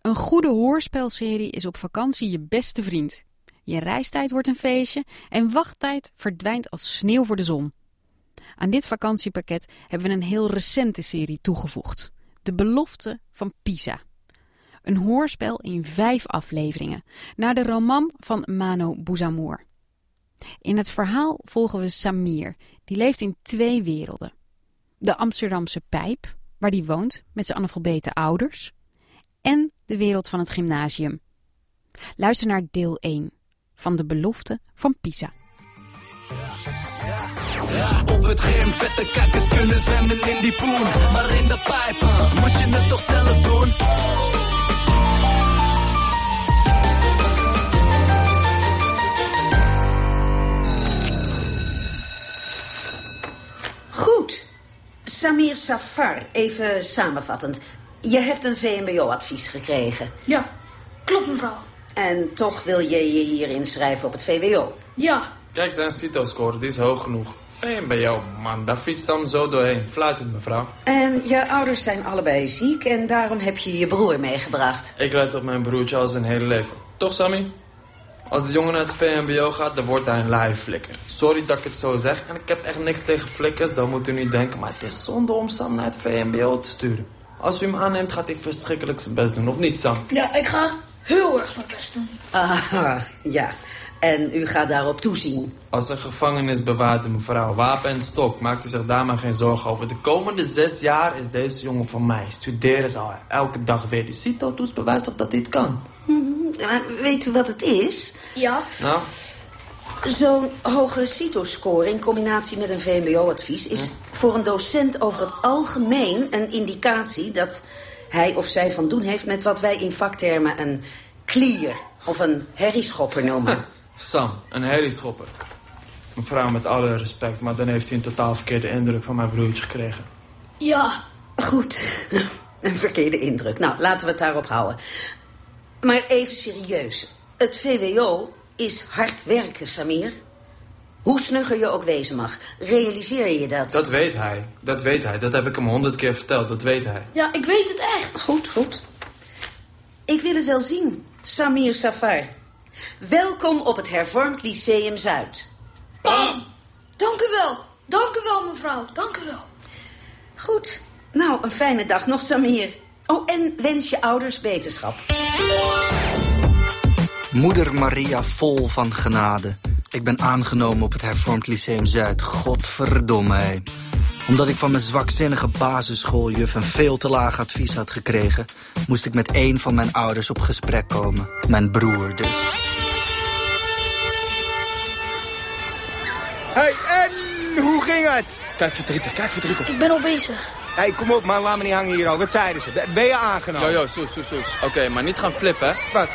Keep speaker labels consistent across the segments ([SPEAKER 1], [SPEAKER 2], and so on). [SPEAKER 1] Een goede hoorspelserie is op vakantie je beste vriend. Je reistijd wordt een feestje en wachttijd verdwijnt als sneeuw voor de zon. Aan dit vakantiepakket hebben we een heel recente serie toegevoegd: De Belofte van Pisa. Een hoorspel in vijf afleveringen, naar de roman van Mano Bouzamour. In het verhaal volgen we Samir, die leeft in twee werelden: de Amsterdamse pijp, waar die woont met zijn analfabete ouders, en de wereld van het gymnasium. Luister naar deel 1 van de belofte van Pisa.
[SPEAKER 2] Op het gym, vette kakkers kunnen zwemmen in die poen. Maar in de pijp, huh, moet je het toch zelf doen?
[SPEAKER 3] Goed. Samir Safar, even samenvattend. Je hebt een VMBO-advies gekregen.
[SPEAKER 4] Ja, klopt mevrouw.
[SPEAKER 3] En toch wil je je hier inschrijven op het VWO.
[SPEAKER 4] Ja,
[SPEAKER 5] Kijk zijn CITO-score, die is hoog genoeg. Fijn bij jou, man. Daar fietst Sam zo doorheen. Fluitend, mevrouw.
[SPEAKER 3] En je ouders zijn allebei ziek en daarom heb je je broer meegebracht.
[SPEAKER 5] Ik let op mijn broertje al zijn hele leven. Toch, Sammy? Als de jongen naar het VMBO gaat, dan wordt hij een laai flikker. Sorry dat ik het zo zeg. En ik heb echt niks tegen flikkers, dat moet u niet denken. Maar het is zonde om Sam naar het VMBO te sturen. Als u hem aanneemt, gaat hij verschrikkelijk zijn best doen. Of niet, Sam?
[SPEAKER 4] ja ik ga heel erg mijn best doen.
[SPEAKER 3] Ah, ja. En u gaat daarop toezien.
[SPEAKER 5] Als een gevangenis bewaarde mevrouw, wapen en stok, maakt u zich daar maar geen zorgen over. De komende zes jaar is deze jongen van mij. Studeren zal hij elke dag weer. Die CITO-toets bewijst op dat dit kan.
[SPEAKER 3] Maar weet u wat het is?
[SPEAKER 4] Mhm. Ja,
[SPEAKER 5] Nou,
[SPEAKER 3] Zo'n hoge CITO-score in combinatie met een VMBO-advies... is voor een docent over het algemeen een indicatie... dat hij of zij van doen heeft met wat wij in vaktermen een klier of een herrieschopper noemen.
[SPEAKER 5] Sam, een herrieschopper. Mevrouw, met alle respect, maar dan heeft hij een totaal verkeerde indruk van mijn broertje gekregen.
[SPEAKER 4] ja,
[SPEAKER 3] Goed, een verkeerde indruk. Nou, laten we het daarop houden. Maar even serieus. Het VWO is hard werken, Samir. Hoe snugger je ook wezen mag, realiseer je dat?
[SPEAKER 5] Dat weet hij, dat weet hij. Dat heb ik hem honderd keer verteld, dat weet hij.
[SPEAKER 4] ja, ik weet het echt.
[SPEAKER 3] Goed, goed. Ik wil het wel zien, Samir Safar. Welkom op het Hervormd Lyceum Zuid.
[SPEAKER 4] Dank u wel, dank u wel mevrouw, dank u wel.
[SPEAKER 3] Goed. Nou, een fijne dag nog, Samir. Oh, en wens je ouders beterschap.
[SPEAKER 6] Moeder Maria vol van genade. Ik ben aangenomen op het Hervormd Lyceum Zuid. Godverdomme, hé. Omdat ik van mijn zwakzinnige basisschooljuf een veel te laag advies had gekregen... moest ik met één van mijn ouders op gesprek komen. Mijn broer dus.
[SPEAKER 7] Hey, en hoe ging het?
[SPEAKER 5] Kijk verdrietig, kijk verdrietig.
[SPEAKER 4] Ik ben al bezig.
[SPEAKER 7] Hey, kom op man, laat me niet hangen hier al. Wat zeiden ze? Ben- Ben je aangenomen?
[SPEAKER 5] Yo, yo, soes, soes, soes. Oké, maar niet gaan flippen, hè.
[SPEAKER 7] Wat?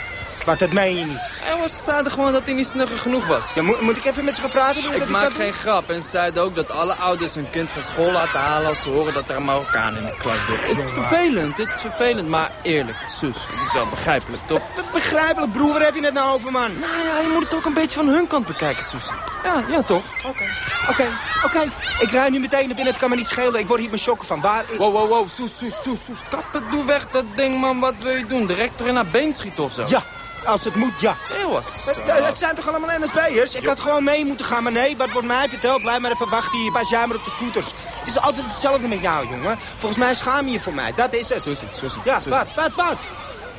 [SPEAKER 7] Wat, dat meen je niet.
[SPEAKER 5] Jongens, ze zeiden gewoon dat hij niet snugger genoeg was.
[SPEAKER 7] Ja, moet, moet ik even met ze gaan praten? doen?
[SPEAKER 5] Ik
[SPEAKER 7] dat
[SPEAKER 5] maak
[SPEAKER 7] dat doe?
[SPEAKER 5] geen grap en ze zeiden ook dat alle ouders hun kind van school laten halen als ze horen dat er een Marokkaan in de klas zit. Het is vervelend, dit is vervelend, maar eerlijk, Soes, het is wel begrijpelijk, toch?
[SPEAKER 7] Wat begrijpelijk, broer, waar heb je het nou over, man? Oké,
[SPEAKER 5] Nou ja, je moet het ook een beetje van hun kant bekijken, Soesie. Ja, ja, toch?
[SPEAKER 7] oké. Ik rij nu meteen naar binnen, het kan me niet schelen. Ik word hier mijn shocken van. Waar ik...
[SPEAKER 5] Wow, wow, wow, Soes, Soes, Soes, Soes, kap het, doe weg dat ding, man. Wat wil je doen? Direct door in haar been schieten of zo?
[SPEAKER 7] Ja, als het moet, ja.
[SPEAKER 5] Eeuw, zo.
[SPEAKER 7] Het, eh, het zijn toch allemaal NSB'ers? Ik had gewoon mee moeten gaan, maar nee, wat wordt mij verteld? Blijf maar even wachten hier, pas jij maar op de scooters. Het is altijd hetzelfde met jou, jongen. Volgens mij schaam je je voor mij, dat is het.
[SPEAKER 5] Soesie, Soesie,
[SPEAKER 7] Ja,
[SPEAKER 5] Soesie.
[SPEAKER 7] wat, wat, wat?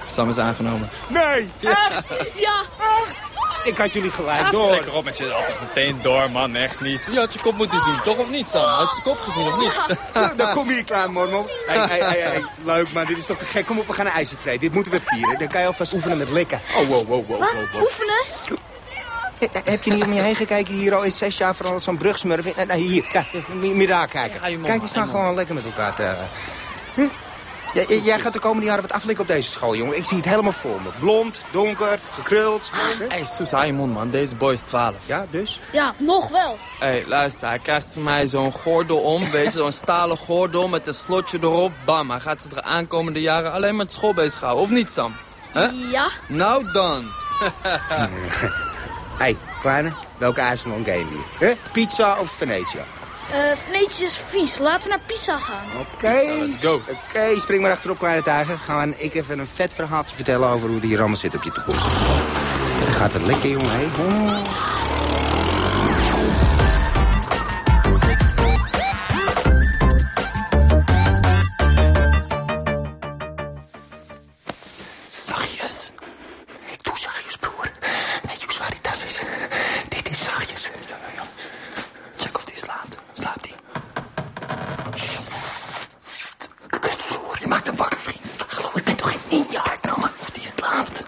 [SPEAKER 5] Sam is aangenomen.
[SPEAKER 7] Nee, echt?
[SPEAKER 4] Ja,
[SPEAKER 7] Ik had jullie gelijk
[SPEAKER 5] Door.
[SPEAKER 7] door.
[SPEAKER 5] Ah, Lekker op met je, dat is meteen door, man, echt niet. Je had je kop moeten zien, toch of niet, Sam? Had je zijn kop gezien of niet?
[SPEAKER 7] Nou, Dan kom hier, klein mormel. Hey, hey, hey, hey, leuk, man. Dit is toch te gek. Kom op, we gaan naar ijsje vreten. Dit moeten we vieren. Dan kan je alvast oefenen met likken.
[SPEAKER 5] Oh, wow, wow, wow,
[SPEAKER 4] wat?
[SPEAKER 5] wow, wow.
[SPEAKER 4] Oefenen?
[SPEAKER 7] He- he- Heb je niet om je heen gekeken hier al in zes jaar vooral zo'n brugsmurf? in- Nou, hier, kijk, mi- meer daar kijken.
[SPEAKER 5] Ja, je mond,
[SPEAKER 7] Kijk, die staan
[SPEAKER 5] man.
[SPEAKER 7] gewoon lekker met elkaar te... Huh? Jij- jij- jij gaat de komende jaren wat aflikken op deze school, jongen. Ik zie het helemaal voor me. Blond, donker, gekruld.
[SPEAKER 5] Hé, hey, Soes, hou je mond, man. Deze boy is 12.
[SPEAKER 7] Ja, dus?
[SPEAKER 4] Ja, nog wel.
[SPEAKER 5] Hé, hey, luister, hij krijgt van mij zo'n gordel om, weet je, zo'n stalen gordel met een slotje erop. Bam, hij gaat zich de aankomende jaren alleen met school bezighouden, of niet, Sam? Hè?
[SPEAKER 4] Ja,
[SPEAKER 5] Nou dan.
[SPEAKER 7] Hé, hey, kleine, welke IJsland game hier? Huh? Pizza of Venetia?
[SPEAKER 4] Eh Venetië is vies. Laten we naar Pisa gaan.
[SPEAKER 7] Oké.
[SPEAKER 5] Pizza, let's go.
[SPEAKER 7] Oké, spring maar achterop, kleine tijger. Gaan we ik even een vet verhaaltje vertellen over hoe die hier allemaal zit op je toekomst. Dat gaat het lekker, jongen, hè? Oh.
[SPEAKER 2] Zachtjes. Ik doe zachtjes, broer. Weet je waar die tas is? Dit is zachtjes. Check of die slaapt. Slaapt die? Kutvloer. Je maakt hem wakker, vriend. Hallo, Oh, ik ben toch geen ninja? Kijk nou maar of die slaapt.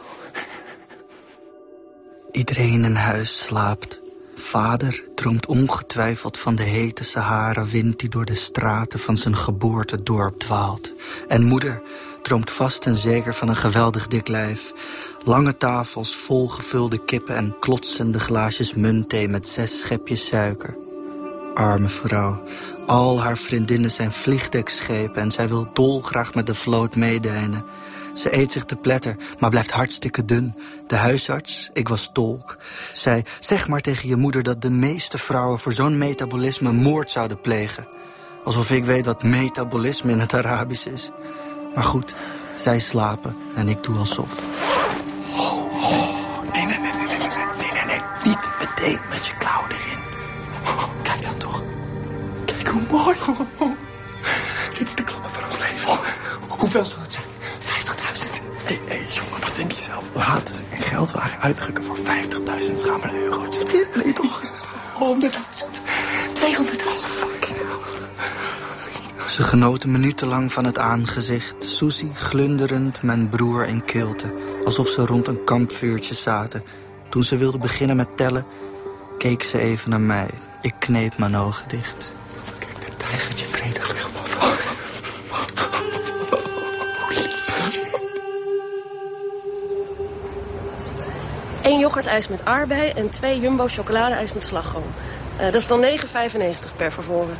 [SPEAKER 6] Iedereen in huis slaapt. Vader droomt ongetwijfeld van de hete Sahara-wind die door de straten van zijn geboortedorp dwaalt. En moeder droomt vast en zeker van een geweldig dik lijf. Lange tafels vol gevulde kippen en klotsende glaasjes muntthee met zes schepjes suiker. Arme vrouw, al haar vriendinnen zijn vliegdekschepen en zij wil dolgraag met de vloot meedijnen. Ze eet zich te pletter, maar blijft hartstikke dun. De huisarts, ik was tolk, zei: Zeg maar tegen je moeder dat de meeste vrouwen voor zo'n metabolisme moord zouden plegen. Alsof ik weet wat metabolisme in het Arabisch is. Maar goed, zij slapen en ik doe alsof.
[SPEAKER 2] Oh, Nee, nee, nee, nee, nee, nee, nee, nee, nee. Niet meteen met je klauwen erin. Oh, kijk dan toch. Kijk hoe mooi. hoe- hoe- Dit is de klappen van ons leven. hoeveel zou het zijn? 50.000. Hé, Oh. hey, jongen, wat denk je zelf? We hadden ze een geldwagen uitdrukken voor 50.000 schamele eurotjes. Nee, toch? 100.000. 200.000. Fucking hell.
[SPEAKER 6] Ze genoten minutenlang van het aangezicht. Susie glunderend, mijn broer in kilte. Alsof ze rond een kampvuurtje zaten. Toen ze wilde beginnen met tellen, keek ze even naar mij. Ik kneep mijn ogen dicht.
[SPEAKER 2] Kijk, dat tijgertje vredig ligt, man.
[SPEAKER 8] Eén yoghurtijs met aardbei en twee jumbo chocoladeijs met slagroom. Eh, dat is dan 9,95 per favoren.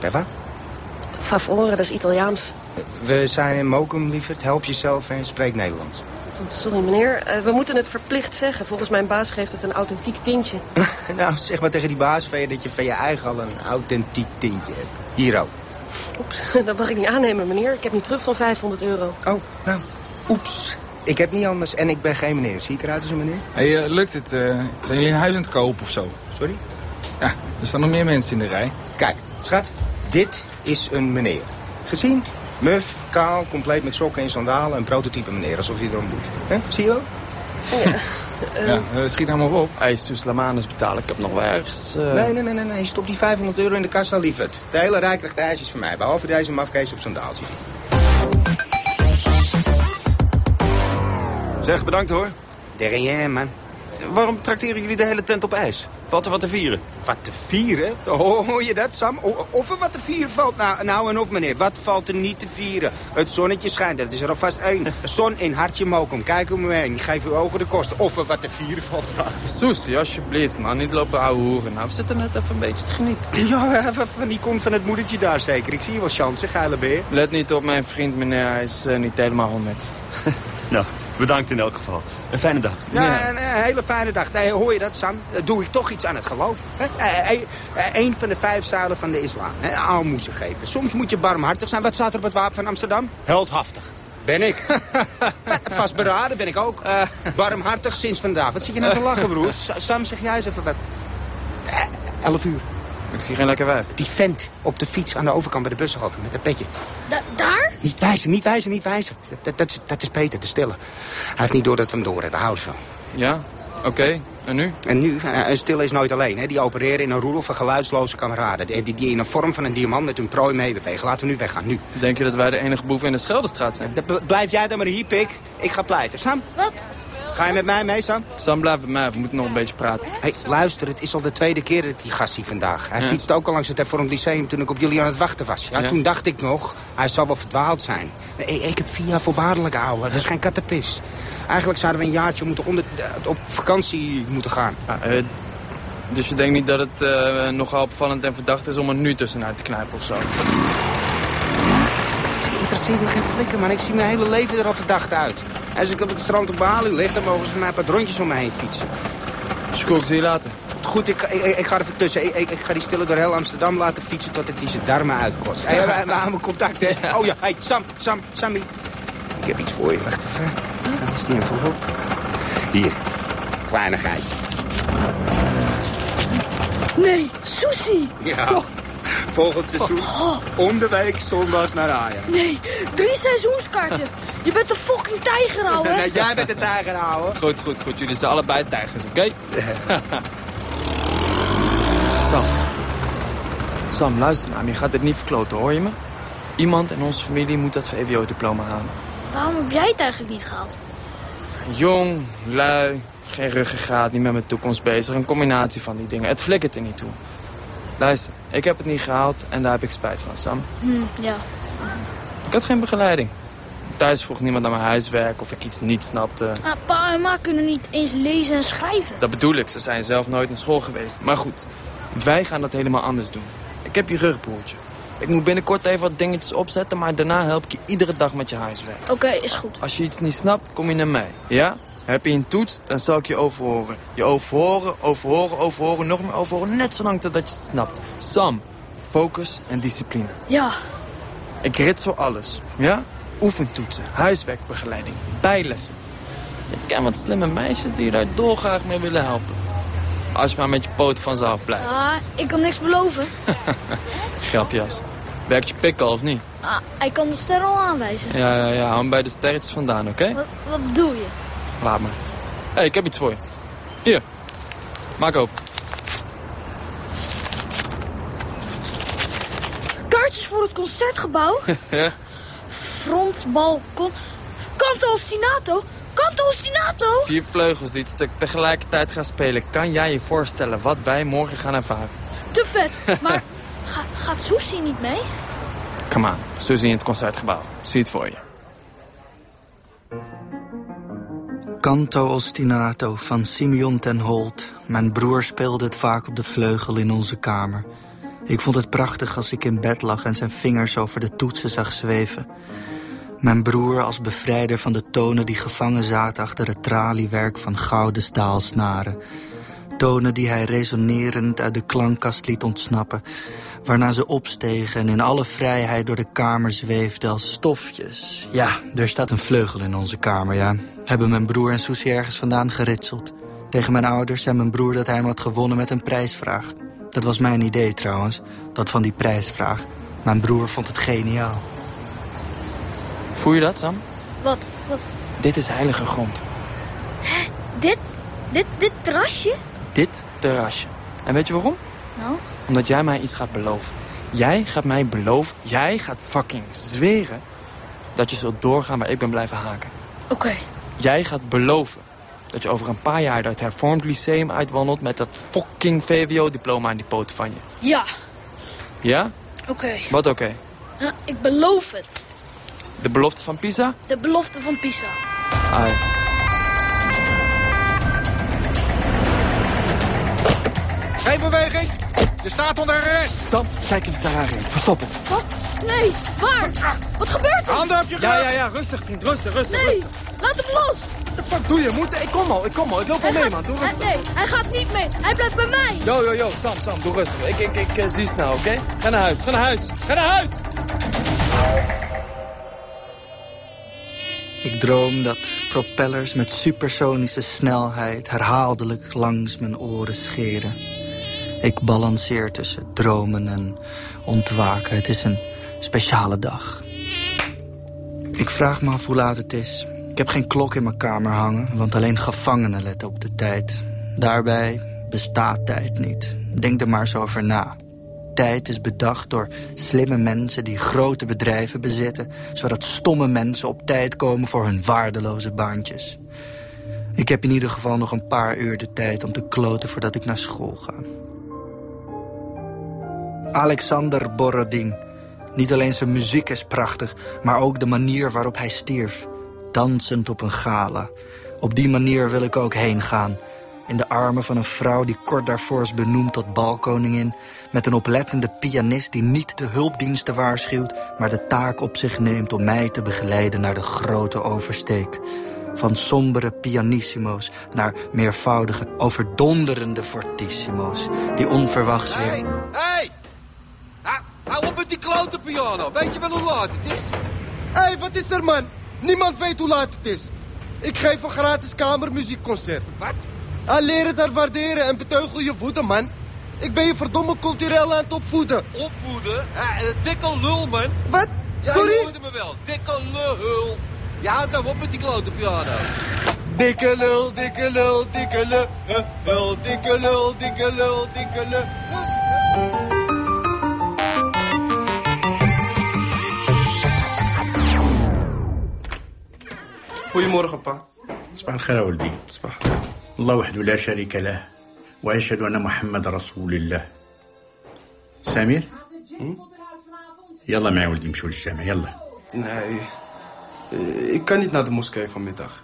[SPEAKER 7] Eh, wat?
[SPEAKER 8] Favoren, dat is Italiaans.
[SPEAKER 7] We zijn in Mokum, lieverd. Help jezelf en spreek Nederlands.
[SPEAKER 8] Sorry meneer, Eh, we moeten het verplicht zeggen. Volgens mijn baas geeft het een authentiek tintje.
[SPEAKER 7] nou, zeg maar tegen die baas van je dat je van je eigen al een authentiek tintje hebt. Hier ook.
[SPEAKER 8] Oeps, dat mag ik niet aannemen meneer. Ik heb niet terug van 500 euro.
[SPEAKER 7] Oh, nou, oeps. Ik heb niet anders en ik ben geen meneer. Zie ik eruit als een meneer?
[SPEAKER 9] Hey, eh, lukt het? eh, zijn jullie een huis aan het kopen of zo?
[SPEAKER 7] Sorry?
[SPEAKER 9] Ja, er staan nog meer mensen in de rij.
[SPEAKER 7] Kijk, schat, dit is een meneer. Gezien? Muf, kaal, compleet met sokken en sandalen. Een prototype meneer, alsof hij erom doet. Hè? Zie je wel?
[SPEAKER 9] Ja, eh, schiet nou maar op.
[SPEAKER 5] Hé, hey, Suus Lamanus dus betalen. Ik heb nog wel ergens... eh,
[SPEAKER 7] Nee, nee, nee, nee, nee. Stop die 500 euro in de kassa, lieverd. De hele rij krijgt ijsjes van mij, behalve deze mafkees op sandaaltje.
[SPEAKER 10] Zeg, bedankt hoor.
[SPEAKER 7] Derrière, man.
[SPEAKER 10] Waarom trakteren jullie de hele tent op ijs? Valt er wat te vieren?
[SPEAKER 7] Wat te vieren? Oh, Hoor je dat, Sam? O- Of er wat te vieren valt? Nou, nou en of, meneer. Wat valt er niet te vieren? Het zonnetje schijnt, dat is er alvast één. Zon in hartje mokum. Kijk om me heen. Geef uw ogen de kosten. Of er wat te vieren valt, vraag.
[SPEAKER 5] Susie, alsjeblieft, man. Niet lopen ouwe hoeren. Nou, we zitten net even een beetje te genieten.
[SPEAKER 7] Ja, even van die kont van het moedertje daar zeker. Ik zie wel chansen, geile beer.
[SPEAKER 5] Let niet op mijn vriend, meneer. Hij is eh, niet helemaal honderd.
[SPEAKER 10] Nou, bedankt in elk geval. Een fijne dag.
[SPEAKER 7] Ja, een, een hele fijne dag. Nee, hoor je dat, Sam? Eh, Doe ik toch iets aan het geloof? Eh, Eén van de vijf zuilen van de islam. hè? Aalmoezen geven. Soms moet je barmhartig zijn. Wat staat er op het wapen van Amsterdam? Heldhaftig. Ben ik. Vastberaden ben ik ook. Barmhartig sinds vandaag. Wat zit je nou te lachen, broer? Sa- Sam, zeg jij eens even wat. Eh, Elf uur.
[SPEAKER 5] Ik zie geen lekker wijf.
[SPEAKER 7] Die vent op de fiets aan de overkant bij de bushalte met een petje.
[SPEAKER 4] Da- daar?
[SPEAKER 7] Niet wijzen, niet wijzen, niet wijzen. Dat, dat, dat, is, dat is Peter, de stille. Hij heeft niet door dat we hem door hebben, hou zo.
[SPEAKER 5] Ja? Oké. En nu?
[SPEAKER 7] En nu, eh, een stille is nooit alleen. Hè? Die opereren in een roedel van geluidsloze kameraden. Die, die- die in een vorm van een diamant met hun prooi meebewegen. Laten we nu weggaan, nu.
[SPEAKER 5] Denk je dat wij de enige boeven in de Scheldestraat zijn?
[SPEAKER 7] Dat bl- blijf jij dan maar hier, pik. Ik ga pleiten. Sam,
[SPEAKER 4] Wat?
[SPEAKER 7] ga je met mij mee, Sam?
[SPEAKER 5] Sam, blijf bij mij. We moeten nog een beetje praten.
[SPEAKER 7] hey, luister, het is al de tweede keer dat ik die gast zie vandaag. Hij
[SPEAKER 5] Ja.
[SPEAKER 7] fietste ook al langs het Hervormd Lyceum toen ik op jullie aan het wachten was. Ja,
[SPEAKER 5] Ja.
[SPEAKER 7] Toen dacht ik nog, hij zal wel verdwaald zijn. Ik, ik heb vier jaar voorwaardelijk gehouden. Dat is geen kattenpis. Eigenlijk zouden we een jaartje moeten onder, eh, op vakantie moeten gaan.
[SPEAKER 5] Ja, eh, dus je denkt niet dat het eh, nogal opvallend en verdacht is om er nu tussenuit te knijpen of zo?
[SPEAKER 7] Het interesseert me geen flikker, man. Ik zie mijn hele leven er al verdacht uit. En als ik op het strand op Bali lig, dan mogen ze mij een paar rondjes om me heen fietsen.
[SPEAKER 5] School, ik zie je later.
[SPEAKER 7] Goed, ik, ik, ik ga er even tussen. Ik, ik, ik ga die stille door heel Amsterdam laten fietsen tot het die zijn darmen uitkost. Hé, hey, we aan mijn contact, hè. Oh ja, hey, Sam, Sam, Sammy. Ik heb iets voor je. Wacht even. Waar Is die een vogel? Hier, kleinigheid.
[SPEAKER 4] Nee, sushi.
[SPEAKER 7] Ja. Oh. Volgend seizoen. Om de week zondags naar Ajax.
[SPEAKER 4] Nee, drie seizoenskaarten. Je bent de fucking tijger, ouwe.
[SPEAKER 7] Nee, jij bent de tijger, ouwe.
[SPEAKER 5] Goed, goed, goed. Jullie zijn allebei tijgers, oké? Sam. Sam, luister naar me. Je gaat dit niet verkloten, hoor je me? Iemand in onze familie moet dat VWO-diploma halen.
[SPEAKER 4] Waarom heb jij het eigenlijk niet gehaald?
[SPEAKER 5] Jong, lui, geen ruggengraat, niet met mijn toekomst bezig. Een combinatie van die dingen. Het flikkert er niet toe. Luister, ik heb het niet gehaald en daar heb ik spijt van, Sam.
[SPEAKER 4] Hm, ja.
[SPEAKER 5] Ik had geen begeleiding. Thuis vroeg niemand aan mijn huiswerk of ik iets niet snapte.
[SPEAKER 4] Maar Ah, pa en ma kunnen niet eens lezen en schrijven.
[SPEAKER 5] Dat bedoel ik, ze zijn zelf nooit naar school geweest. Maar goed, wij gaan dat helemaal anders doen. Ik heb je rug, broertje. Ik moet binnenkort even wat dingetjes opzetten, maar daarna help ik je iedere dag met je huiswerk.
[SPEAKER 4] Oké, is goed.
[SPEAKER 5] Als je iets niet snapt, kom je naar mij, ja? Heb je een toets, dan zal ik je overhoren. Je overhoren, overhoren, overhoren, nog meer overhoren, net zolang totdat je het snapt. Sam, focus en discipline.
[SPEAKER 4] Ja,
[SPEAKER 5] Ik ritsel alles, ja? Oefentoetsen, huiswerkbegeleiding, bijlessen. Ik ken wat slimme meisjes die je daar dolgraag mee willen helpen. Als je maar met je poot van ze af blijft.
[SPEAKER 4] ah, ik kan niks beloven.
[SPEAKER 5] Grapjas. Werkt je pik al of niet?
[SPEAKER 4] Ah, hij kan de ster al aanwijzen.
[SPEAKER 5] Ja, ja, ja. Hou hem bij de sterretjes vandaan, oké?
[SPEAKER 4] Wat, wat bedoel je?
[SPEAKER 5] Laat maar. Hé, hey, ik heb iets voor je. Hier. Maak op.
[SPEAKER 4] Kaartjes voor het concertgebouw?
[SPEAKER 5] Ja?
[SPEAKER 4] Frontbalkon... Canto ostinato? Canto ostinato?
[SPEAKER 5] Vier vleugels die het stuk tegelijkertijd gaan spelen. Kan jij je voorstellen wat wij morgen gaan ervaren?
[SPEAKER 4] Te vet. Maar ga- gaat Sushi niet mee?
[SPEAKER 5] Come on. Zo zie je het concertgebouw. Zie het voor je.
[SPEAKER 6] Canto Ostinato van Simeon ten Holt. Mijn broer speelde het vaak op de vleugel in onze kamer. Ik vond het prachtig als ik in bed lag en zijn vingers over de toetsen zag zweven. Mijn broer als bevrijder van de tonen die gevangen zaten achter het traliewerk van gouden staalsnaren. Tonen die hij resonerend uit de klankkast liet ontsnappen, waarna ze opstegen en in alle vrijheid door de kamer zweefden als stofjes. Ja, er staat een vleugel in onze kamer, ja. Hebben mijn broer en Susie ergens vandaan geritseld. Tegen mijn ouders zei mijn broer dat hij hem had gewonnen met een prijsvraag. Dat was mijn idee trouwens, dat van die prijsvraag. Mijn broer vond het geniaal.
[SPEAKER 5] Voel je dat, Sam?
[SPEAKER 4] Wat? Wat?
[SPEAKER 5] Dit is heilige grond.
[SPEAKER 4] Dit? Dit, dit terrasje?
[SPEAKER 5] Dit terrasje. En weet je waarom?
[SPEAKER 4] Nou,
[SPEAKER 5] Omdat jij mij iets gaat beloven. Jij gaat mij beloven, jij gaat fucking zweren... dat je zult doorgaan waar ik ben blijven haken.
[SPEAKER 4] oké.
[SPEAKER 5] Jij gaat beloven dat je over een paar jaar dat hervormd lyceum uitwandelt... met dat fucking VWO-diploma aan die poten van je.
[SPEAKER 4] Ja,
[SPEAKER 5] Ja?
[SPEAKER 4] oké.
[SPEAKER 5] Wat oké?
[SPEAKER 4] Ja, ik beloof het.
[SPEAKER 5] De belofte van Pisa? Ah,
[SPEAKER 4] De belofte van Pisa.
[SPEAKER 5] Ai.
[SPEAKER 7] Geen beweging. Je staat onder arrest.
[SPEAKER 5] Sam, kijk in het terrarium. Verstop het.
[SPEAKER 4] Wat? Nee, waar? Wat gebeurt er?
[SPEAKER 7] Handen op je
[SPEAKER 10] Ja,
[SPEAKER 7] gezicht.
[SPEAKER 10] ja, ja, rustig vriend, rustig, rustig.
[SPEAKER 4] Nee, laat hem los.
[SPEAKER 10] Wat de fuck doe je? Moet, ik kom al, ik kom al. Ik loop al mee, man. Doe
[SPEAKER 4] hij,
[SPEAKER 10] rustig.
[SPEAKER 4] nee, hij gaat niet mee. Hij blijft bij mij.
[SPEAKER 10] Yo, yo, yo, Sam, Sam, doe rustig.
[SPEAKER 5] Ik, ik, ik eh, zie snel, oké? Ga naar huis, ga naar huis, ga naar huis!
[SPEAKER 6] Ik droom dat propellers met supersonische snelheid herhaaldelijk langs mijn oren scheren. Ik balanceer tussen dromen en ontwaken. Het is een speciale dag. Ik vraag me af hoe laat het is. Ik heb geen klok in mijn kamer hangen, want alleen gevangenen letten op de tijd. Daarbij bestaat tijd niet. Denk er maar eens over na. Tijd is bedacht door slimme mensen die grote bedrijven bezitten, zodat stomme mensen op tijd komen voor hun waardeloze baantjes. Ik heb in ieder geval nog een paar uur de tijd om te kloten voordat ik naar school ga. Alexander Borodin. Niet alleen zijn muziek is prachtig, maar ook de manier waarop hij stierf. Dansend op een gala. Op die manier wil ik ook heen gaan. In de armen van een vrouw die kort daarvoor is benoemd tot balkoningin. Met een oplettende pianist die niet de hulpdiensten waarschuwt, maar de taak op zich neemt om mij te begeleiden naar de grote oversteek. Van sombere pianissimo's naar meervoudige, overdonderende fortissimo's. Die onverwachts weer...
[SPEAKER 11] Hé, hey, hou, hou op met die klote piano. Weet je wel hoe laat het is?
[SPEAKER 12] Hé, hey, wat is er, man? Niemand weet hoe laat het is. Ik geef een gratis kamermuziekconcert.
[SPEAKER 11] Wat?
[SPEAKER 12] Ah, leer het haar waarderen en beteugel je woede, man. Ik ben je verdomme cultureel aan het opvoeden.
[SPEAKER 11] Opvoeden? Ja, eh, dikke lul, man.
[SPEAKER 12] Wat? Sorry?
[SPEAKER 11] Ja, je hoorde me wel. Dikke lul. Ja, houdt nou op met die klote piano.
[SPEAKER 12] Dikke lul, dikke lul, dikke lul, eh, lul, dikke lul, dikke lul, dikke lul.
[SPEAKER 13] Goedemorgen, pa.
[SPEAKER 14] صباح الخير يا ولدي
[SPEAKER 13] صباح
[SPEAKER 14] الله وحده لا شريك له وأشهد أن محمد رسول الله سمير يلا معي ولدي مشوا للجامع يلا
[SPEAKER 13] Nee. Eh, Ik kan niet naar de moskee vanmiddag.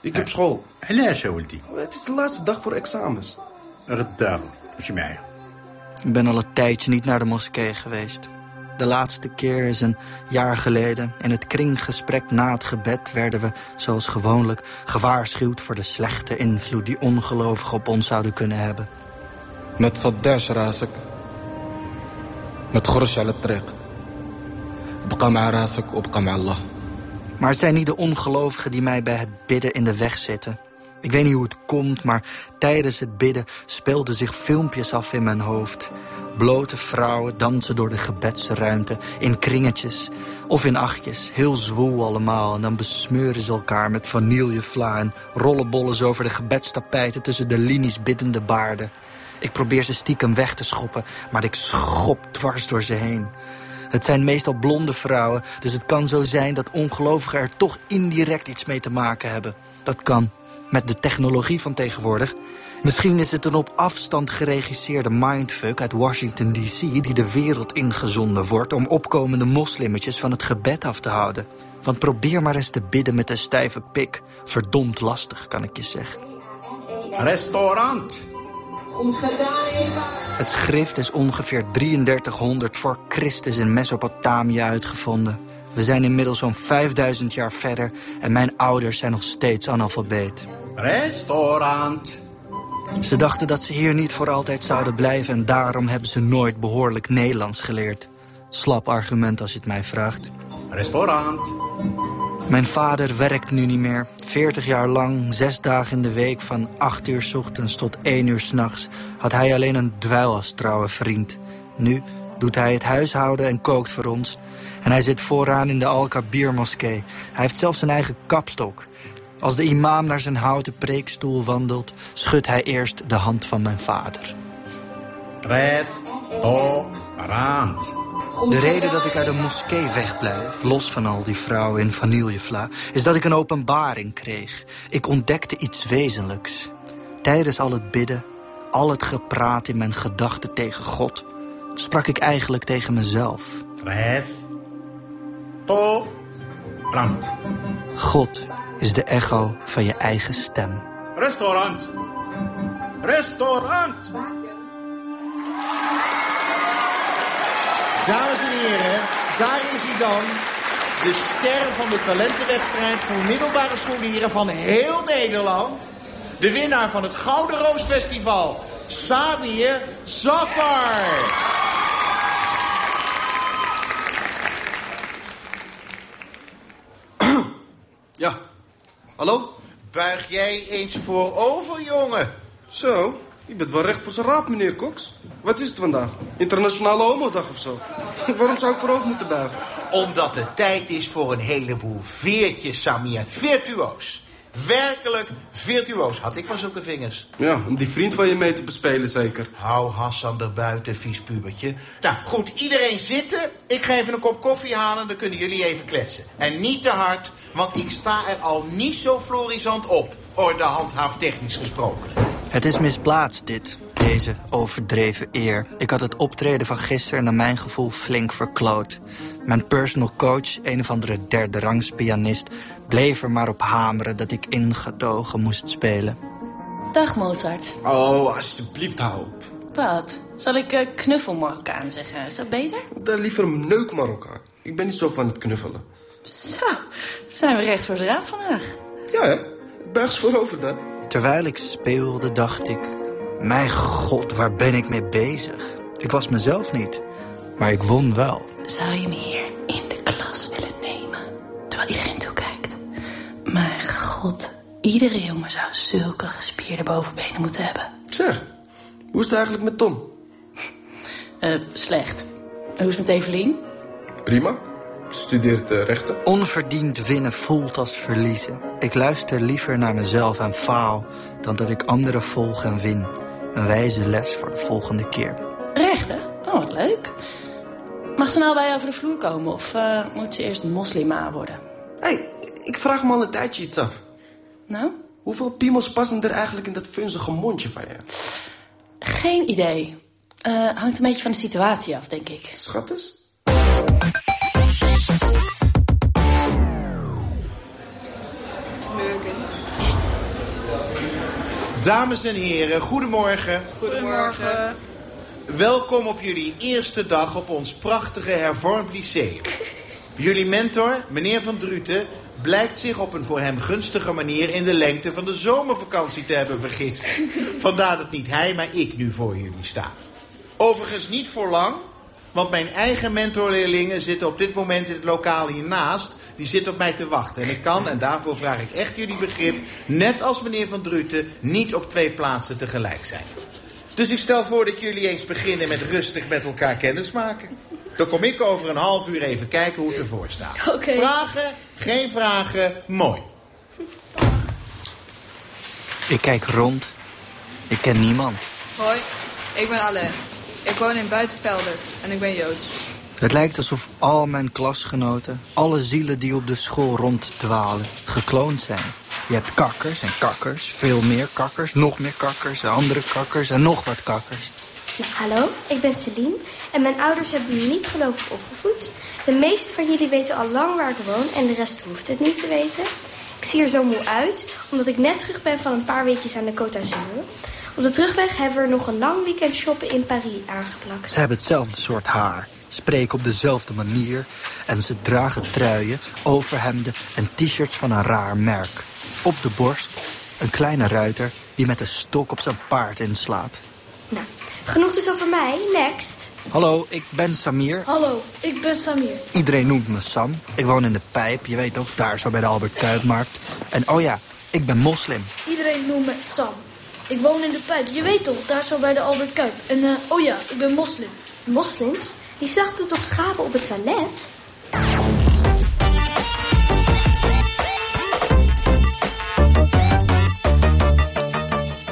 [SPEAKER 13] Ik heb school.
[SPEAKER 14] علاش يا ولدي
[SPEAKER 13] Het is de laatste dag voor examens.
[SPEAKER 14] غدا مشي معايا
[SPEAKER 6] Ik ben al een tijdje niet naar de moskee geweest. De laatste keer is een jaar geleden. In het kringgesprek na het gebed werden we, zoals gewoonlijk, gewaarschuwd voor de slechte invloed die ongelovigen op ons zouden kunnen hebben.
[SPEAKER 13] ما تصدعش راسك ما تخرجش على الطريق بقى مع راسك وابقى مع الله
[SPEAKER 6] Maar het zijn niet de ongelovigen die mij bij het bidden in de weg zitten. Ik weet niet hoe het komt, maar tijdens het bidden speelden zich filmpjes af in mijn hoofd. Blote vrouwen dansen door de gebedsruimte in kringetjes of in achtjes, heel zwoel allemaal. En dan besmeuren ze elkaar met vanillevla en rollenbollen ze over de gebedstapijten tussen de linies biddende baarden. Ik probeer ze stiekem weg te schoppen, maar ik schop dwars door ze heen. Het zijn meestal blonde vrouwen, dus het kan zo zijn dat ongelovigen er toch indirect iets mee te maken hebben. Dat kan, met de technologie van tegenwoordig. Misschien is het een op afstand geregisseerde mindfuck uit Washington D.C. die de wereld ingezonden wordt om opkomende moslimmetjes van het gebed af te houden. Want probeer maar eens te bidden met een stijve pik. Verdomd lastig, kan ik je zeggen.
[SPEAKER 14] Restaurant
[SPEAKER 15] Goed gedaan, Eva.
[SPEAKER 6] Het schrift is ongeveer 3300 voor Christus in Mesopotamië uitgevonden. We zijn inmiddels zo'n 5000 jaar verder en mijn ouders zijn nog steeds analfabeet.
[SPEAKER 14] Restaurant
[SPEAKER 6] Ze dachten dat ze hier niet voor altijd zouden blijven en daarom hebben ze nooit behoorlijk Nederlands geleerd. Slap argument als je het mij vraagt.
[SPEAKER 14] Restaurant
[SPEAKER 6] Mijn vader werkt nu niet meer. 40 jaar lang, zes dagen in de week, van 8 uur 's ochtends tot 1 uur 's nachts, had hij alleen een dweil als trouwe vriend. Nu doet hij het huishouden en kookt voor ons. En hij zit vooraan in de Al-Kabir-moskee. Hij heeft zelfs zijn eigen kapstok. Als de imam naar zijn houten preekstoel wandelt, schudt hij eerst de hand van mijn vader.
[SPEAKER 14] Restaurant
[SPEAKER 6] De reden dat ik uit de moskee wegblijf, los van al die vrouwen in vanillevla, is dat ik een openbaring kreeg. Ik ontdekte iets wezenlijks. Tijdens al het bidden, al het gepraat in mijn gedachten tegen God, sprak ik eigenlijk tegen mezelf.
[SPEAKER 14] Restaurant
[SPEAKER 6] God is de echo van je eigen stem.
[SPEAKER 14] Restaurant Restaurant
[SPEAKER 16] Dames en heren, daar is hij dan. De ster van de talentenwedstrijd voor middelbare scholieren van heel Nederland. De winnaar van het Gouden Roos Festival, Samir Zafar.
[SPEAKER 13] Ja. Hallo?
[SPEAKER 16] Buig jij eens voorover, jongen.
[SPEAKER 13] Zo, je bent wel recht voor zijn raap, meneer Cox. Wat is het vandaag? Internationale homodag of zo? Waarom zou ik voorover moeten buigen?
[SPEAKER 16] Omdat het tijd is voor een heleboel veertjes, Samir. Virtuoos. Werkelijk virtuoos. Had ik maar zulke vingers.
[SPEAKER 13] Ja, om die vriend van je mee te bespelen zeker.
[SPEAKER 16] Hou Hassan er buiten, vies pubertje. Nou, goed, iedereen zitten. Ik ga even een kop koffie halen, dan kunnen jullie even kletsen. En niet te hard, want ik sta er al niet zo florisant op. Orde handhaaftechnisch gesproken.
[SPEAKER 6] Het is misplaatst, dit. Deze overdreven eer. Ik had het optreden van gisteren naar mijn gevoel flink verkloot. Mijn personal coach, een of andere derde rangs pianist... bleef er maar op hameren dat ik ingetogen moest spelen.
[SPEAKER 17] Dag Mozart.
[SPEAKER 13] Oh, alsjeblieft, hou op.
[SPEAKER 17] Wat? Zal ik eh, knuffel Marokkaan zeggen? Is dat beter?
[SPEAKER 13] Dan liever een neuk Marokkaan. Ik ben niet zo van het knuffelen.
[SPEAKER 17] Zo, zijn we recht voor de raap vandaag.
[SPEAKER 13] Ja, hè? Bergs voorover dan.
[SPEAKER 6] Terwijl ik speelde, dacht ik... Mijn god, waar ben ik mee bezig? Ik was mezelf niet, maar ik won wel.
[SPEAKER 17] Zou je me hier in de klas willen nemen? Terwijl iedereen toekijkt. Mijn god, iedere jongen zou zulke gespierde bovenbenen moeten hebben.
[SPEAKER 10] Zeg, hoe is het eigenlijk met Tom?
[SPEAKER 17] Eh, slecht. Hoe is het met Evelien?
[SPEAKER 10] Prima. Studeert eh, rechten.
[SPEAKER 6] Onverdiend winnen voelt als verliezen. Ik luister liever naar mezelf en faal... dan dat ik anderen volg en win. Een wijze les voor de volgende keer.
[SPEAKER 17] Rechten? Oh, wat leuk. Mag ze nou bij jou over de vloer komen of eh, moet ze eerst moslima worden?
[SPEAKER 10] Ik vraag me al een tijdje iets af.
[SPEAKER 17] Nou?
[SPEAKER 10] Hoeveel piemels passen er eigenlijk in dat funzige mondje van je?
[SPEAKER 17] Geen idee. Eh, hangt een beetje van de situatie af, denk ik.
[SPEAKER 10] Schattes?
[SPEAKER 16] Dames en heren, goedemorgen.
[SPEAKER 18] Goedemorgen.
[SPEAKER 16] Welkom op jullie eerste dag op ons prachtige hervormd lyceum. Jullie mentor, meneer Van Druten, blijkt zich op een voor hem gunstige manier in de lengte van de zomervakantie te hebben vergist. Vandaar dat niet hij, maar ik nu voor jullie sta. Overigens niet voor lang, want mijn eigen mentorleerlingen zitten op dit moment in het lokaal hiernaast. Die zitten op mij te wachten. En ik kan, en daarvoor vraag ik echt jullie begrip, net als meneer Van Druten, niet op twee plaatsen tegelijk zijn. Dus ik stel voor dat jullie eens beginnen met rustig met elkaar kennis maken. Dan kom ik over een half uur even kijken hoe het ervoor staat.
[SPEAKER 18] Oké.
[SPEAKER 16] Vragen? Geen vragen? Mooi.
[SPEAKER 6] Ik kijk rond. Ik ken niemand.
[SPEAKER 18] Hoi, ik ben Alain. Ik woon in Buitenveldert en ik ben Joods.
[SPEAKER 6] Het lijkt alsof al mijn klasgenoten, alle zielen die op de school ronddwalen, gekloond zijn. Je hebt kakkers en kakkers, veel meer kakkers, nog meer kakkers, en andere kakkers en nog wat kakkers.
[SPEAKER 19] Hallo, ik ben Celine en mijn ouders hebben me niet gelovig opgevoed. De meesten van jullie weten al lang waar ik woon en de rest hoeft het niet te weten. Ik zie er zo moe uit, omdat ik net terug ben van een paar weekjes aan de Côte d'Azur. Op de terugweg hebben we er nog een lang weekend shoppen in Parijs aangeplakt.
[SPEAKER 6] Ze hebben hetzelfde soort haar, spreken op dezelfde manier en ze dragen truien, overhemden en t-shirts van een raar merk. Op de borst een kleine ruiter die met een stok op zijn paard inslaat.
[SPEAKER 19] Genoeg dus over mij, next.
[SPEAKER 6] Hallo, ik ben Samir.
[SPEAKER 4] Oh.
[SPEAKER 19] Hallo, ik ben Samir.
[SPEAKER 6] Iedereen noemt me Sam. Ik woon in de Pijp, je weet ook, daar zo bij de Albert Kuipmarkt. En oh ja, ik ben moslim.
[SPEAKER 20] Iedereen noemt me Sam. Ik woon in de pijp, je weet toch, daar zo bij de Albert Kuip. En eh, oh ja, ik ben moslim.
[SPEAKER 19] Moslims? Die slachten toch schapen op het toilet?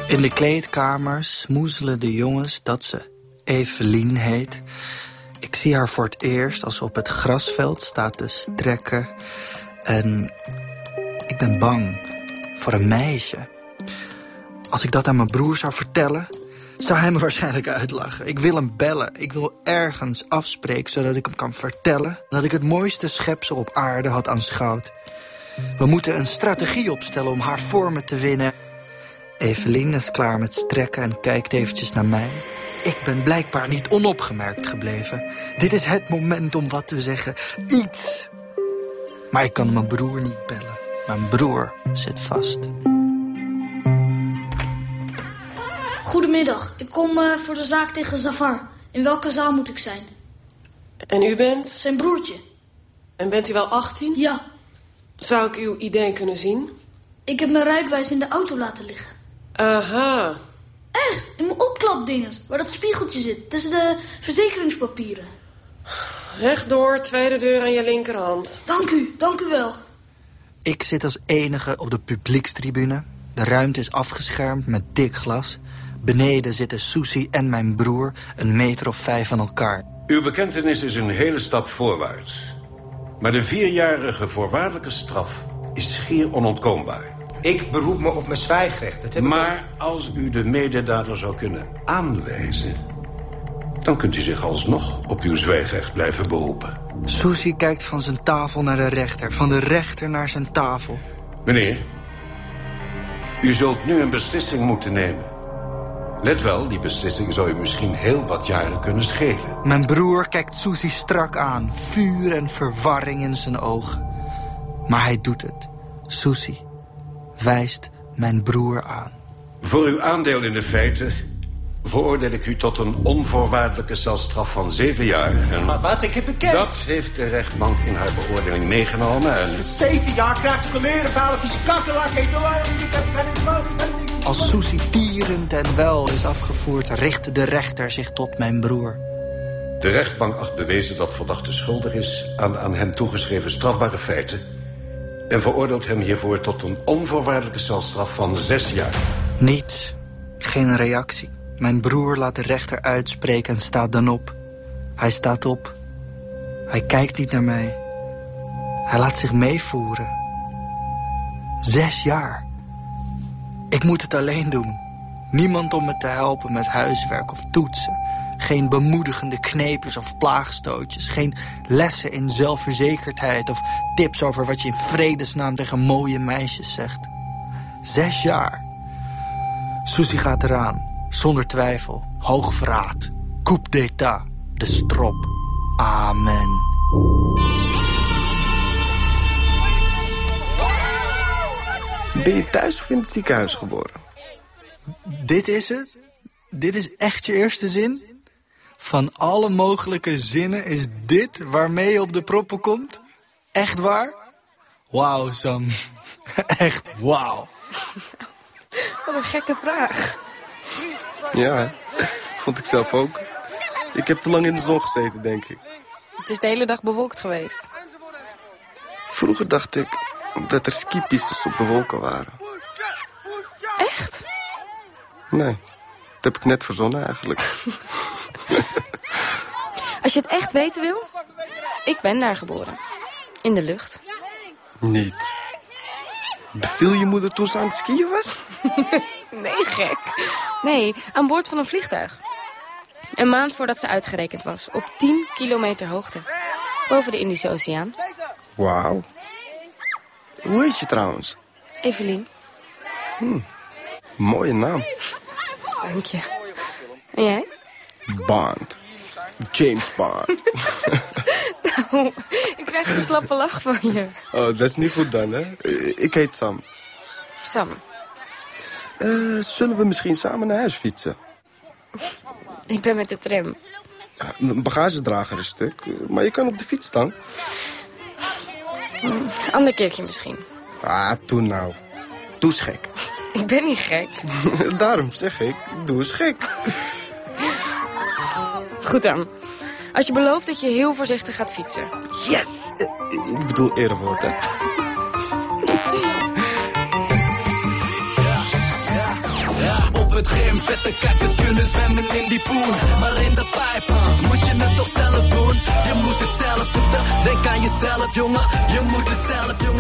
[SPEAKER 6] In de kleedkamer smoezelen de jongens dat ze Evelien heet. Ik zie haar voor het eerst als ze op het grasveld staat te strekken. En ik ben bang voor een meisje. Als ik dat aan mijn broer zou vertellen, zou hij me waarschijnlijk uitlachen. Ik wil hem bellen. Ik wil ergens afspreken zodat ik hem kan vertellen dat ik het mooiste schepsel op aarde had aanschouwd. We moeten een strategie opstellen om haar vormen te winnen. Evelien is klaar met strekken en kijkt eventjes naar mij. Ik ben blijkbaar niet onopgemerkt gebleven. Dit is het moment om wat te zeggen. Iets. Maar ik kan mijn broer niet bellen. Mijn broer zit vast.
[SPEAKER 20] Goedemiddag, ik kom eh, voor de zaak tegen Zafar. In welke zaal moet ik zijn?
[SPEAKER 8] En u bent?
[SPEAKER 20] Zijn broertje.
[SPEAKER 8] En bent u wel 18?
[SPEAKER 20] Ja.
[SPEAKER 8] Zou ik uw idee kunnen zien?
[SPEAKER 20] Ik heb mijn rijbewijs in de auto laten liggen.
[SPEAKER 8] Aha.
[SPEAKER 20] Echt, in mijn opklapdinges, waar dat spiegeltje zit, tussen de verzekeringspapieren.
[SPEAKER 8] Rechtdoor, tweede deur aan je linkerhand.
[SPEAKER 20] Dank u, dank u wel.
[SPEAKER 6] Ik zit als enige op de publiekstribune. De ruimte is afgeschermd met dik glas. Beneden zitten Susie en mijn broer een meter of vijf van elkaar.
[SPEAKER 21] Uw bekentenis is een hele stap voorwaarts. Maar de vierjarige voorwaardelijke straf is schier onontkoombaar.
[SPEAKER 7] Ik beroep me op mijn zwijgrecht. Dat heb ik
[SPEAKER 21] Maar als u de mededader zou kunnen aanwijzen... dan kunt u zich alsnog op uw zwijgrecht blijven beroepen.
[SPEAKER 6] Susie kijkt van zijn tafel naar de rechter, van de rechter naar zijn tafel.
[SPEAKER 21] Meneer, u zult nu een beslissing moeten nemen. Let wel, die beslissing zou u misschien heel wat jaren kunnen schelen.
[SPEAKER 6] Mijn broer kijkt Susie strak aan, vuur en verwarring in zijn ogen. Maar hij doet het. Susie, wijst mijn broer aan.
[SPEAKER 21] Voor uw aandeel in de feiten veroordeel ik u tot een onvoorwaardelijke celstraf van zeven jaar. En
[SPEAKER 7] Maar wat, ik heb bekend.
[SPEAKER 21] dat heeft de rechtbank in haar beoordeling meegenomen. En
[SPEAKER 7] Zeven jaar krijgt geleren, vuile vieze kattenlak. Ik doe waarom ik heb geen fout.
[SPEAKER 6] Als Susie tierend en wel is afgevoerd, richt de rechter zich tot mijn broer.
[SPEAKER 21] de rechtbank acht bewezen dat verdachte schuldig is aan aan hem toegeschreven strafbare feiten. En veroordeelt hem hiervoor tot een onvoorwaardelijke celstraf van zes jaar.
[SPEAKER 6] Niets. Geen reactie. Mijn broer laat de rechter uitspreken en staat dan op. Hij staat op. Hij kijkt niet naar mij. Hij laat zich meevoeren. Zes jaar. Ik moet het alleen doen. Niemand om me te helpen met huiswerk of toetsen. Geen bemoedigende kneepjes of plaagstootjes. Geen lessen in zelfverzekerdheid of tips over wat je in vredesnaam tegen mooie meisjes zegt. Zes jaar. Susie gaat eraan, zonder twijfel. Hoogverraad. Coup d'état. De strop. Amen.
[SPEAKER 13] Ben je thuis of in het ziekenhuis geboren?
[SPEAKER 6] Dit is het? Dit is echt je eerste zin? Van alle mogelijke zinnen is dit waarmee je op de proppen komt? Echt waar? Wauw, Sam. Echt wauw.
[SPEAKER 8] Wat een gekke vraag.
[SPEAKER 13] Ja, hè? vond ik zelf ook. Ik heb te lang in de zon gezeten, denk ik.
[SPEAKER 8] Het is de hele dag bewolkt geweest.
[SPEAKER 13] Vroeger dacht ik dat er skipistes op de wolken waren.
[SPEAKER 8] Echt?
[SPEAKER 13] Nee, dat heb ik net verzonnen eigenlijk.
[SPEAKER 8] Als je het echt weten wil, ik ben daar geboren. In de lucht.
[SPEAKER 13] Niet. Beviel je moeder toen ze aan het skiën was?
[SPEAKER 8] Nee, gek. Nee, aan boord van een vliegtuig. Een maand voordat ze uitgerekend was, op 10 kilometer hoogte. Boven de Indische Oceaan.
[SPEAKER 13] Wauw. Hoe heet je trouwens?
[SPEAKER 8] Evelien,
[SPEAKER 13] Hm. Mooie naam.
[SPEAKER 8] dank je. En jij?
[SPEAKER 13] Bond. James Bond.
[SPEAKER 8] Nou, ik krijg een slappe lach van je.
[SPEAKER 13] Oh, dat is niet goed dan, hè? Eh, Ik heet Sam.
[SPEAKER 8] Sam,
[SPEAKER 13] Eh, zullen we misschien samen naar huis fietsen?
[SPEAKER 8] ik ben met de tram.
[SPEAKER 13] Ah, Mijn bagagedrager is stuk, eh, maar je kan op de fiets dan.
[SPEAKER 8] Mm, Ander keertje misschien.
[SPEAKER 13] Ah, toen nou. Doe eens gek.
[SPEAKER 8] Ik ben niet gek.
[SPEAKER 13] Daarom zeg ik, doe eens gek.
[SPEAKER 8] Goed dan. Als je belooft dat je heel voorzichtig gaat fietsen.
[SPEAKER 13] Yes!
[SPEAKER 2] Eh,
[SPEAKER 13] Ik bedoel erewoord, hè?
[SPEAKER 22] Op het gym, vette kijkers kunnen zwemmen in die poen. Maar in de pijpbaan moet je het toch zelf doen. Je moet het zelf doen, denk aan jezelf, jongen. Je moet het zelf, jongen.